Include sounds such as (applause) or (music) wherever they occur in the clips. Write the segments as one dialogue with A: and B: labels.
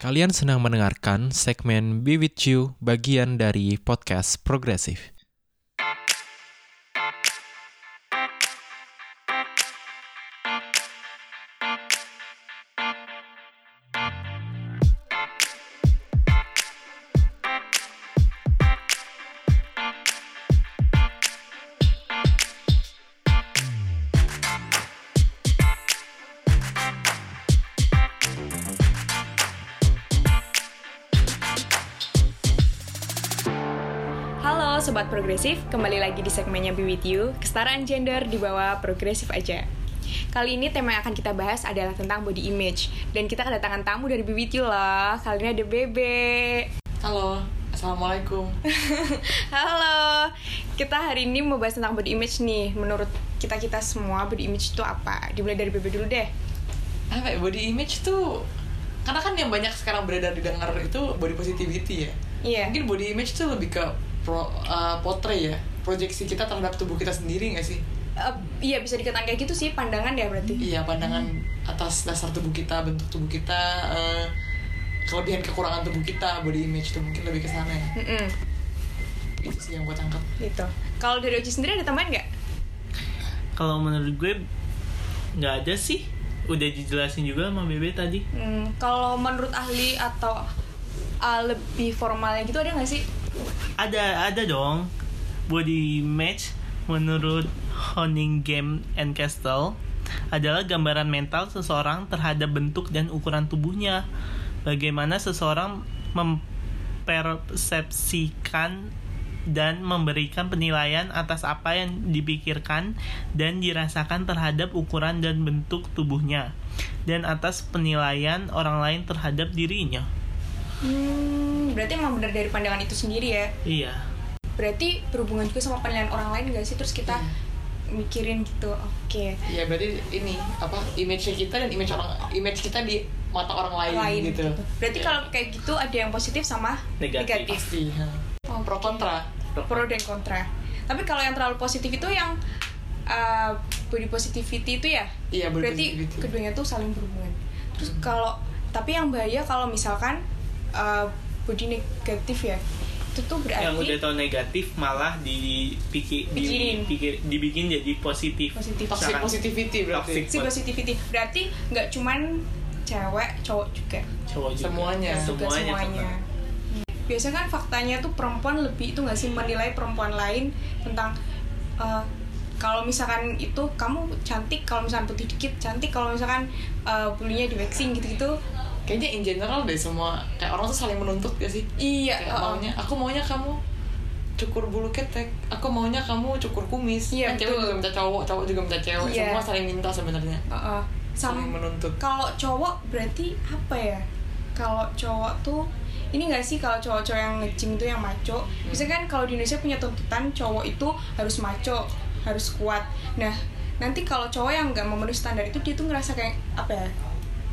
A: Kalian senang mendengarkan segmen Be With You bagian dari podcast Progresif.
B: Halo Sobat Progresif, kembali lagi di segmennya Be With You, kesetaraan gender di bawah progresif aja. Kali ini tema yang akan kita bahas adalah tentang body image Dan kita kedatangan tamu dari Be With You lah, kali ini ada Bebe (laughs)
C: Halo, assalamualaikum. (laughs)
B: Halo, kita hari ini mau bahas tentang body image nih Menurut kita-kita semua body image itu apa? Dimulai dari Bebe dulu deh
C: Apa ya, body image tuh? Karena kan yang banyak sekarang beredar didengar itu body positivity ya.
B: Iya.
C: Mungkin body image tuh lebih ke pro, eh, portray ya, proyeksi kita terhadap tubuh kita sendiri nggak sih?
B: Eh, Iya bisa dikatakan kayak gitu sih, pandangan ya berarti
C: Iya, pandangan atas dasar tubuh kita, bentuk tubuh kita, eh, kelebihan kekurangan tubuh kita, body image tuh mungkin lebih ke sana ya.
B: Mm-mm,
C: Itu sih yang gue tangkap.
B: gitu Kalau dari Oci sendiri ada tambahan nggak?
D: kalau menurut gue nggak ada sih udah dijelasin juga sama Bebe tadi
B: Hmm, kalau menurut ahli atau uh, lebih formalnya gitu ada nggak sih?
D: ada ada dong body image menurut Honningham and Castle adalah gambaran mental seseorang terhadap bentuk dan ukuran tubuhnya bagaimana seseorang mempersepsikan dan memberikan penilaian atas apa yang dipikirkan dan dirasakan terhadap ukuran dan bentuk tubuhnya dan atas penilaian orang lain terhadap dirinya
B: Hmm, berarti emang benar dari pandangan itu sendiri ya.
D: iya
B: Berarti berhubungan juga sama penilaian orang lain nggak sih? Terus kita
C: Hmm.
B: mikirin gitu. Oke.
C: Iya, berarti ini apa image kita dan image orang image kita di mata orang lain,
B: Lain
C: gitu.
B: gitu. Berarti
D: Iya.
B: kalau kayak gitu ada yang positif sama
D: Negatif.
B: negatif.
C: Pasti. ha. Oh, pro kontra.
B: Pro dan kontra. Tapi kalau yang terlalu positif itu yang uh, body positivity itu ya.
C: Iya, body
B: berarti
C: positivity.
B: keduanya tuh saling berhubungan. Terus kalau tapi yang bahaya kalau misalkan uh, body negatif ya. Itu tuh berarti
D: yang udah tau negatif malah dipikir
B: Pikirin.
D: dipikir dibikin jadi positif
B: positif.
C: Toxic
D: Sangat.
C: positivity berarti.
D: Toxic.
B: si positivity berarti nggak cuman cewek cowok juga
D: cowok juga.
C: Semuanya.
B: juga
D: semuanya,
B: semuanya Hmm. biasanya kan faktanya tuh perempuan lebih itu nggak sih menilai perempuan lain tentang eh, kalau misalkan itu kamu cantik kalau misalkan putih dikit cantik kalau misalkan eh, bulunya di waxing gitu-gitu
C: Kayaknya in general deh semua kayak orang tuh saling menuntut gak sih?
B: iya oh,
C: Kayak
B: oh.
C: maunya, aku maunya kamu cukur bulu ketek, aku maunya kamu cukur kumis.
B: Iya,
C: kan cewek
B: betul.
C: juga minta cowok, cowok juga minta cewek.
B: Iya.
C: Semua saling minta sebenarnya.
B: Eh, eh. sama
C: Saling menuntut.
B: kalau cowok berarti apa ya kalau cowok tuh ini nggak sih kalau cowok-cowok yang nge-gym itu yang maco misalnya kan kalau di Indonesia punya tuntutan cowok itu harus maco harus kuat nah nanti kalau cowok yang nggak memenuhi standar itu dia tuh ngerasa kayak apa ya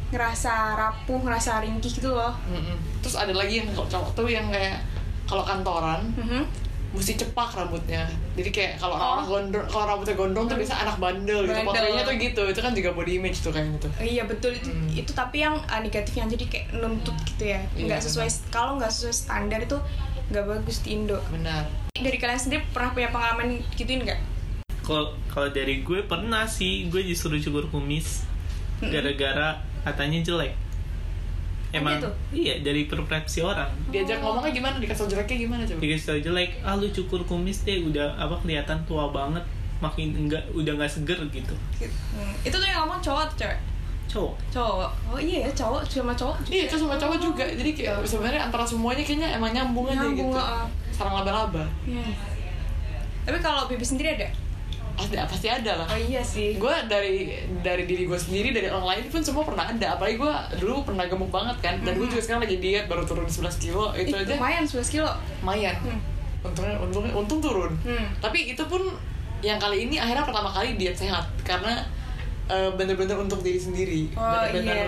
B: ngerasa rapuh ngerasa ringkih gitu loh
C: Mm-mm. Terus ada lagi yang kalau cowok tuh yang kayak kalau kantoran
B: Mhm.
C: mesti cepak rambutnya jadi kayak kalau
B: Oh. Hmm.
C: orang gondrong kalau rambutnya gondrong tuh biasa anak bandel, gitu
B: Bandel.
C: portraynya tuh gitu itu kan juga body image tuh kayaknya tuh
B: Eh, Iya betul itu,
C: Hmm.
B: itu tapi yang ah, negatif yang jadi kayak nuntut gitu ya
C: Iya,
B: nggak sesuai kalau nggak sesuai standar itu nggak bagus di Indo
C: benar
B: dari kalian sendiri pernah punya pengalaman gituin nggak
D: Kalau- kalau dari gue pernah sih gue disuruh cukur kumis
B: Mm-mm.
D: gara-gara katanya jelek emang
B: gitu?
D: iya dari persepsi orang
C: diajak ngomongnya gimana dikasih jeleknya gimana coba
D: dikasih tau jelek ah lu cukur kumis deh udah apa kelihatan tua banget makin enggak udah nggak seger gitu
B: Hmm, itu tuh yang ngomong cowok atau cewek?
D: cowok
B: Cowok. Oh iya ya cowok sama cowok. juga.
C: Iya, itu sama cowok juga. Jadi kayak eh, sebenarnya antara semuanya kayaknya emang nyambung aja
B: Nyambung, ah.
C: gitu.
B: heeh.
C: Sarang laba-laba.
B: Iya. Tapi kalau bibi sendiri ada?
C: Pasti pasti ada lah.
B: Oh iya sih.
C: Gue dari dari diri gue sendiri dari orang lain pun semua pernah ada. Apalagi gue dulu pernah gemuk banget kan. Dan
B: Mm-hmm.
C: gue juga sekarang lagi diet baru turun 11 kilo itu
B: Ih,
C: aja
B: lumayan 11 kilo.
C: lumayan.
B: Hmm.
C: Untungnya untungnya untung turun.
B: Hmm.
C: Tapi itu pun yang kali ini akhirnya pertama kali diet sehat karena eh, bener-bener untuk diri sendiri.
B: Oh, iya.
C: bener-bener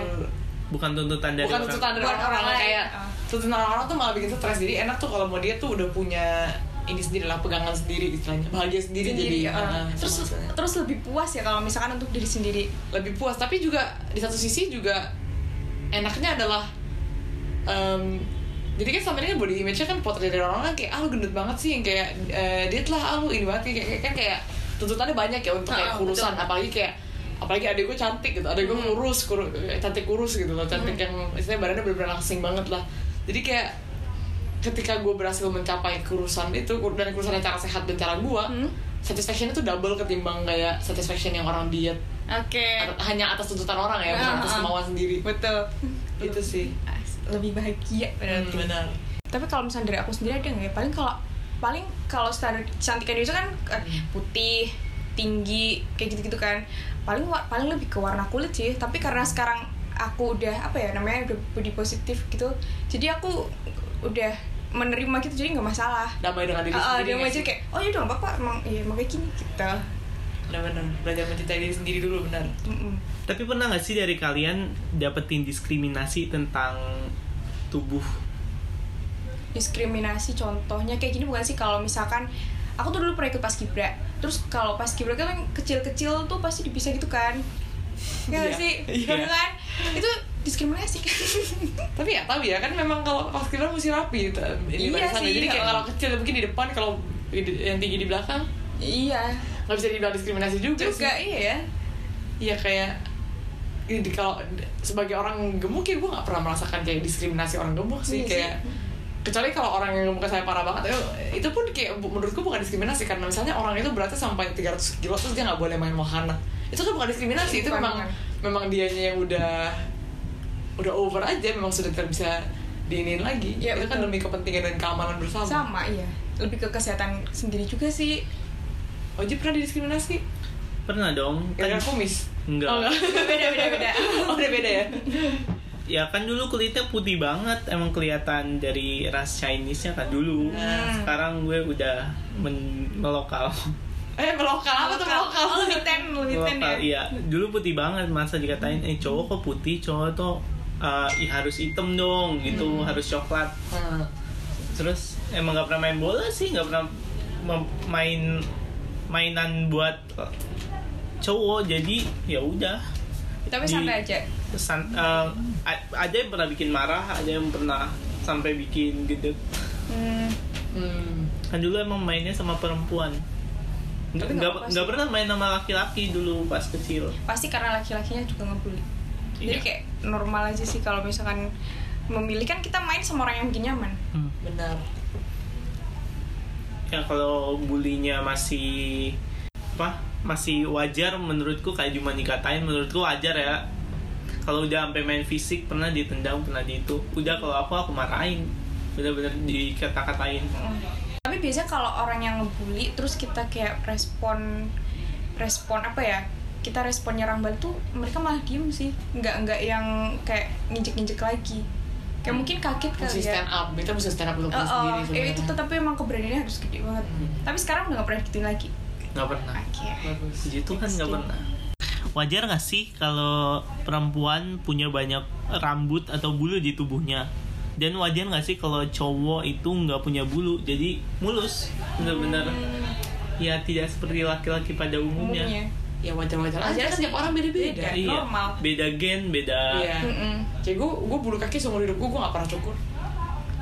D: bukan tuntutan dari
C: bukan
D: orang.
C: tuntutan dari
B: Buat
C: orang-orang
B: orang lain.
C: kayak
B: Ah.
C: tuntutan orang-orang tuh malah bikin stres jadi enak tuh kalau mau dia tuh udah punya ini sendiri lah pegangan sendiri istilahnya bahagia sendiri,
B: Sendiri, uh.
C: jadi uh,
B: terus
C: sama misalnya.
B: terus lebih puas ya kalau misalkan untuk diri sendiri.
C: lebih puas tapi juga di satu sisi juga enaknya adalah em, jadi kan selama ini kan body image-nya kan potret dari orang kan kayak ah lu gendut banget sih yang kayak eh, diet lah ah lu ini banget kayak, kayak- kan kayak tuntutannya banyak ya untuk kayak
B: Ah,
C: kurusan
B: betul. Hmm.
C: apalagi kayak apalagi adik gue cantik gitu adik gue kurus kuru- cantik kurus gitu loh cantik yang istilahnya badannya benar-benar langsing banget lah jadi kayak ketika gue berhasil mencapai kurusan itu kur- dan kurusan yang cara sehat dan cara gue
B: Hmm.
C: satisfaction itu double ketimbang kayak satisfaction yang orang diet
B: Oke.
C: At- hanya atas tuntutan orang ya bukan
B: Ah,
C: atas
B: ah.
C: kemauan sendiri
B: Betul.
C: itu sih
B: Lebih bahagia
C: Hmm,
B: berarti.
C: benar
B: tapi kalau misalnya dari aku sendiri ada nggak ya paling kalau paling kalau standar kecantikan itu kan eh,
C: Hmm.
B: putih tinggi kayak gitu gitu kan paling wa- paling lebih ke warna kulit sih tapi karena sekarang aku udah apa ya namanya udah body positif gitu jadi aku udah menerima gitu jadi nggak masalah
C: damai dengan diri
B: Ah, ah,
C: sendiri
B: dia
C: nggak
B: aja
C: sih?
B: kayak oh ya udah nggak apa-apa emang iya makanya gini kita
C: benar benar belajar mencintai diri sendiri dulu benar
B: Mm-mm.
D: Tapi pernah nggak sih dari kalian dapetin diskriminasi tentang tubuh?
B: diskriminasi contohnya kayak gini bukan sih kalau misalkan aku tuh dulu pernah ikut paskibra terus kalau paskibra kan yang kecil-kecil tuh pasti dipisah gitu kan ya nggak
C: Iya.
B: sih Bener kan itu diskriminasi kan
C: tapi ya tahu ya kan memang kalau pas kita mesti rapi itu eh, ini
B: Iya
C: barisannya.
B: sih,
C: jadi kayak
B: iya.
C: kalau kecil mungkin di depan kalau di- yang tinggi di belakang
B: iya
C: nggak bisa dibilang diskriminasi juga,
B: juga
C: sih
B: iya ya
C: iya kayak ini di- kalau sebagai orang gemuk ya gue nggak pernah merasakan kayak diskriminasi orang gemuk sih
B: Iya sih.
C: kayak kecuali kalau orang yang gemuk saya parah banget eh, itu pun kayak bu- menurut gue bukan diskriminasi karena misalnya orang itu beratnya sampai 300 kilo terus dia nggak boleh main wahana itu kan bukan diskriminasi itu
B: Bukan,
C: memang
B: bukan.
C: memang dianya yang udah udah over aja memang sudah tidak bisa diinin lagi
B: Iya,
C: itu kan
B: betul.
C: demi kepentingan dan keamanan bersama
B: sama iya lebih ke kesehatan sendiri juga sih
C: Oji pernah didiskriminasi?
D: Pernah dong. Kan-
C: Gara-gara kumis?
D: Enggak.
C: Oh,
B: beda beda beda
C: (laughs) oh, udah beda ya?
D: ya kan dulu kulitnya putih banget emang kelihatan dari ras Chinese-nya kan dulu.
C: Hmm.
D: Sekarang gue udah men- melokal.
C: Eh, melokal apa tuh melokal?
B: oh, lebih ten lebih ten
D: Melokal,
B: ya
D: iya. Dulu putih banget masa dikatain eh cowok kok putih, cowok tuh eh, ih, harus hitam dong gitu, harus coklat.
C: Hmm.
D: Terus emang nggak pernah main bola sih, nggak pernah mem- main mainan buat eh, cowok jadi ya udah
B: tapi
D: Di-
B: santai aja
D: San- eh, a- ada yang pernah bikin marah ada yang pernah sampai bikin gede
B: hmm,
C: Hmm.
D: kan dulu emang mainnya sama perempuan nggak
B: Tapi nggak
D: nggak
B: apa-apa
D: nggak
B: sih.
D: pernah main sama laki-laki dulu pas kecil
B: pasti karena laki-lakinya juga ngebully jadi
D: Iya.
B: kayak normal aja sih kalau misalkan memilih kan kita main sama orang yang bikin nyaman
D: Hmm.
C: Benar.
D: ya kalau bulinya masih apa masih wajar menurutku kayak cuma dikatain menurutku wajar ya kalau udah sampai main fisik pernah ditendang pernah di itu udah kalau aku aku marahin bener-bener dikata-katain
B: tapi biasanya kalau orang yang ngebully terus kita kayak respon respon apa ya kita respon nyerang balik tuh mereka malah diem sih nggak nggak yang kayak nginjek-nginjek lagi kayak mungkin kaget kali
C: Mesti
B: ya
C: stand up, kita mesti stand up untuk
B: Oh,
C: diri
B: oh.
C: sendiri
B: Eh, itu
C: sebenarnya.
B: tetapi emang keberaniannya harus gede banget
C: Hmm.
B: tapi sekarang udah nggak pernah gituin lagi
D: nggak
C: Nah.
D: pernah
B: oke
C: Bagus.
D: Puji Tuhan Gitu kan,
B: Gitu.
D: nggak pernah. Wajar nggak sih kalau perempuan punya banyak rambut atau bulu di tubuhnya? Dan wajar nggak sih kalau cowok itu nggak punya bulu, jadi mulus, bener-bener ya tidak seperti laki-laki pada umumnya.
B: Hmm. umumnya
C: Ya wajar-wajar aja kan tiap orang beda-beda.
B: Beda.
D: Iya.
B: Normal.
D: Beda gen, beda
C: Iya.
B: Mm-mm.
C: Kayak gue, gue bulu kaki seumur hidup gue, gue gak pernah cukur.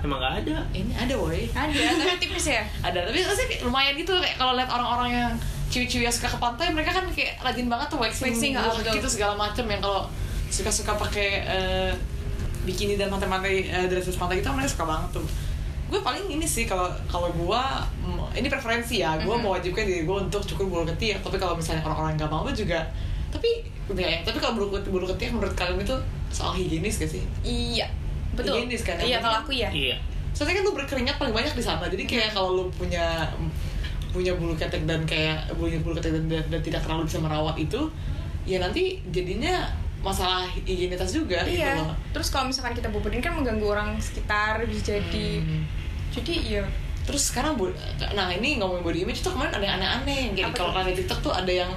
D: emang nggak ada.
C: Ini ada woi.
B: ada tapi tipis ya
C: Ada, tapi sih lumayan gitu kayak kalau lihat orang-orang yang ciwi-ciwi yang suka ke pantai, mereka kan kayak rajin banget tuh waxing,
B: Waxing,
C: bulu
B: ah,
C: kaki
B: betul.
C: itu segala macem yang kalau suka-suka pakai eh, bikini dan pantai-pantai eh, dresses pantai itu mereka suka banget tuh. Gue paling ini sih kalau kalau gue mm, ini preferensi ya, gue
B: Mhm.
C: mewajibkan diri gue untuk cukur bulu ketiak. Tapi kalau misalnya orang-orang nggak mau juga, tapi ya, tapi kalau bulu, bulu ketiak menurut kalian itu soal higienis gak sih?
B: iya betul
C: Higienis kan,
B: iya
C: yang
B: kalau aku
C: penting.
B: ya
D: Iya.
C: soalnya kan lu berkeringat paling banyak di sana jadi kayak kalau lu punya punya bulu ketek dan kayak punya bulu ketek dan, dan, dan tidak terlalu bisa merawat itu ya nanti jadinya masalah higienitas juga gitu
B: Iya.
C: loh
B: Terus kalau misalkan kita bobotin kan mengganggu orang sekitar bisa jadi.
C: Hmm.
B: Jadi iya.
C: terus sekarang bu- nah ini ngomongin body image tuh kemarin ada yang aneh-aneh Yang kayak
B: Apa
C: kalau
B: tuh?
C: kalian di TikTok tuh ada yang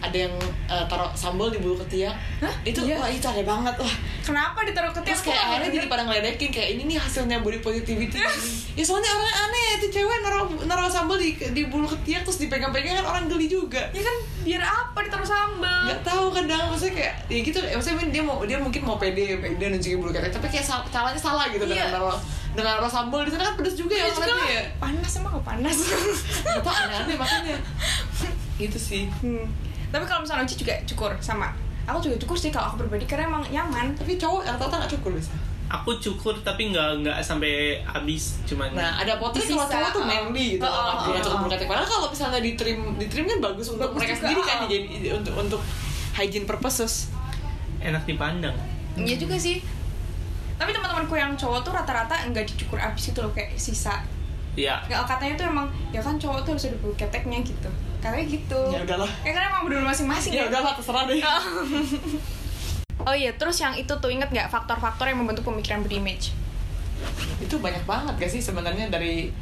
C: ada yang eh, taruh sambal di bulu ketiak
B: Hah?
C: itu
B: Iya.
C: wah itu aneh banget lah
B: Kenapa ditaruh ke
C: terus
B: tiang?
C: kayak akhirnya jadi pada ngeledekin kayak ini nih hasilnya body positivity ya soalnya orang aneh itu cewek naruh naruh sambal di di bulu ketiak terus dipegang-pegang kan orang geli juga
B: Ya kan biar apa ditaruh sambal?
C: nggak tahu kadang maksudnya kayak ya gitu ya, maksudnya dia mau dia mungkin mau pede pede nunjukin bulu ketek tapi kayak sal- caranya salah gitu
B: Iya.
C: dengan naruh dengan naruh sambal di sana kan pedes juga ya
B: Terus juga
C: orangnya ya
B: panas emang nggak panas. (laughs)
C: nggak tahu aneh-aneh makanya gitu sih
B: hmm. Tapi kalau misalnya Uci juga cukur sama. Aku juga cukur sih kalau aku pribadi karena emang nyaman.
C: tapi cowok rata-rata nggak cukur bisa
D: Aku cukur tapi nggak nggak sampai habis cuman
C: nah ada potret
B: Sisa,
C: kalau cowok tuh
B: oh.
C: manly gitu
B: Oh, oh,
C: oh,
B: oh,
C: cukup
B: oh.
C: bulu ketek padahal kalau misalnya di trim di trim kan bagus untuk
B: Bagus
C: mereka
B: juga,
C: sendiri kan
B: oh.
C: jadi untuk untuk hygiene purposes
D: enak dipandang.
B: Iya juga sih. Tapi teman-temanku yang cowok tuh rata-rata nggak dicukur abis gitu loh kayak sisa.
D: Ya,
B: Nggak katanya tuh emang ya kan cowok tuh harus ada bulu keteknya gitu. Katanya gitu.
C: ya udahlah
B: Ya karena emang bener masing-masing
C: ya udahlah terserah deh
B: (laughs) Oh iya, terus yang itu tuh inget nggak faktor-faktor yang membentuk pemikiran body image?
C: itu banyak banget gak sih sebenarnya dari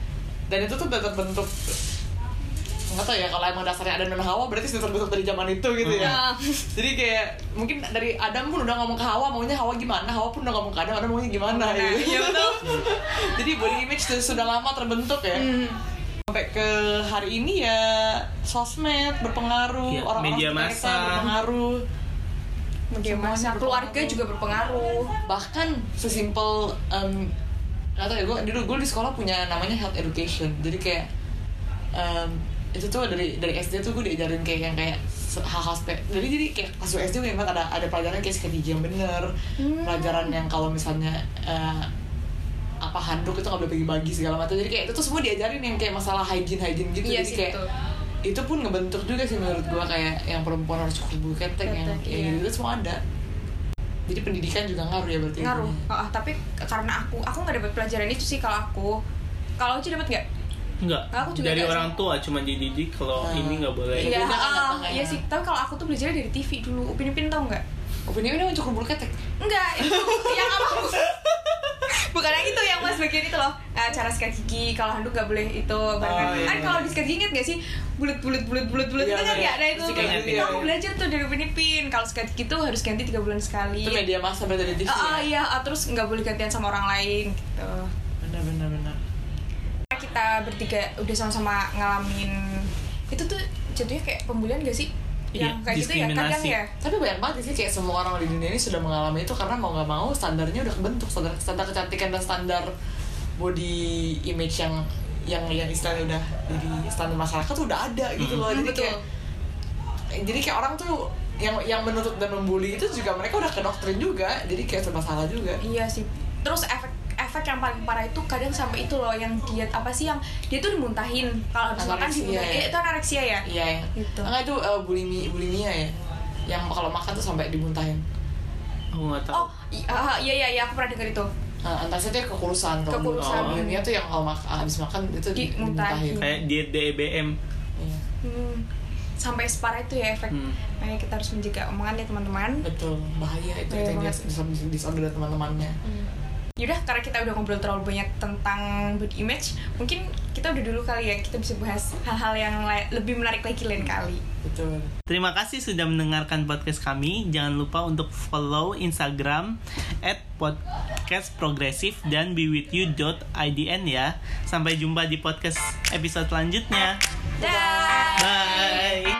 C: dan itu tuh udah terbentuk nggak tau ya kalau emang dasarnya Adam dan Hawa berarti sudah terbentuk dari zaman itu gitu ya jadi kayak mungkin dari Adam pun udah ngomong ke Hawa maunya Hawa gimana Hawa pun udah ngomong ke Adam Adam maunya gimana gitu
B: iya betul.
C: (laughs)
B: Hmm.
C: jadi body image tuh sudah lama terbentuk ya sampai ke hari ini ya sosmed berpengaruh
D: Iya,
C: orang-orang
D: media
C: sekitar kita
D: massa.
C: berpengaruh
B: Bagaimana keluarga juga berpengaruh.
C: bahkan sesimpel em gak tau ya gue dulu gue di sekolah punya namanya health education jadi kayak em, itu tuh dari dari SD tuh gue diajarin kayak yang kayak se- hal-hal spe- jadi jadi kayak pas gue SD gue ingat ada ada pelajaran kayak sikat gigi yang bener
B: Hmm.
C: pelajaran yang kalau misalnya eh, apa handuk itu nggak boleh bagi-bagi segala macam jadi kayak itu tuh semua diajarin yang kayak masalah hygiene hygiene gitu
B: Iya
C: jadi
B: sih,
C: kayak
B: betul.
C: itu pun ngebentuk juga sih menurut gue kayak yang perempuan harus cukur bulu ketek yang
B: Ketek, iya.
C: yang gitu semua ada jadi pendidikan juga ngaruh ya berarti
B: Ngaruh.
C: intinya.
B: Oh, ah, tapi ke- karena aku, aku nggak dapat pelajaran itu sih kalau aku. Kalau Uci dapat nggak?
D: enggak.
B: Aku juga
D: dari
B: nggak
D: orang tua cuman dididik kalau
C: Ah.
D: ini nggak boleh.
B: ah,
C: Iya, jangan apa-apa,
B: iya
C: ya.
B: sih. Tapi kalau aku tuh belajar dari TV dulu. Upin Ipin tau nggak?
C: Upin Ipin emang cukur bulu ketek.
B: Enggak, itu yang apa? Bukan yang itu yang mas bagian itu loh. Nah, cara sikat gigi kalau handuk nggak boleh itu.
C: Oh,
B: Bahkan
C: iya,
B: kan
C: iya.
B: kalau di sikat gigi inget nggak sih? Bulat bulat bulat bulat bulat
C: Iya,
B: itu kan
C: iya.
B: nggak ada itu.
C: Terus sikat
D: gigi,
B: Itu
D: iya,
B: aku
C: iya.
B: belajar tuh dari Upin Ipin. Kalau sikat gigi tuh harus ganti tiga bulan sekali.
C: Itu ya. media massa berarti ada di
B: Ah, ah, iya, ah, terus nggak boleh gantian sama orang lain gitu.
C: Benar benar benar.
B: Karena Kita bertiga udah sama-sama ngalamin itu tuh jadinya kayak pembulian gak sih?
D: Iya,
B: Yang kayak gitu ya kadang
D: diskriminasi.
B: ya.
C: Tapi banyak banget sih kayak semua orang di dunia ini sudah mengalami itu karena mau nggak mau standarnya udah kebentuk standar standar kecantikan dan standar body image yang yang yang istilahnya udah jadi standar masyarakat tuh udah ada gitu loh.
B: Hmm,
C: Jadi
B: betul.
C: kayak eh, jadi kayak orang tuh yang yang menuntut dan membuli itu juga mereka udah ke doktrin juga. Jadi kayak serba salah juga.
B: Iya sih. Terus efek efek yang paling parah itu kadang sampai itu loh yang diet apa sih yang dia tuh dimuntahin kalau habis makan
C: Anoreksia,
B: dimuntahin.
C: ya?
B: Eh, itu anoreksia ya?
C: Iya ya.
B: Gitu.
C: Enggak itu eh, bulimi bulimia ya. Yang kalau makan tuh sampai dibuntahin.
D: Aku nggak tahu.
B: Oh, i- ah, iya iya iya aku pernah dengar itu.
C: Nah, antara itu yang kekurusan kalau dulu.
B: Kekurusan.
C: Kalau bulimia tuh yang kalau mak habis makan itu di-
B: Dimuntahin.
C: dimuntahin.
D: Kayak diet DBM.
C: Iya,
B: Hmm. Sampai separah itu ya efek.
D: Hmm.
B: Makanya kita harus menjaga omongan ya teman-teman.
C: betul bahaya
B: Bahaya
C: itu itu yang dia
B: banget.
C: dis- disorder dan teman-temannya.
B: Yaudah, karena kita udah ngobrol terlalu banyak tentang body image, mungkin kita udah dulu kali ya kita bisa bahas hal-hal yang lai- lebih menarik lagi lain kali.
C: Betul.
D: Terima kasih sudah mendengarkan podcast kami. Jangan lupa untuk follow Instagram at podcast progresif dan bewithyou.idn
C: Iya.
D: ya. Sampai jumpa di podcast episode selanjutnya.
B: Dah.
D: Bye.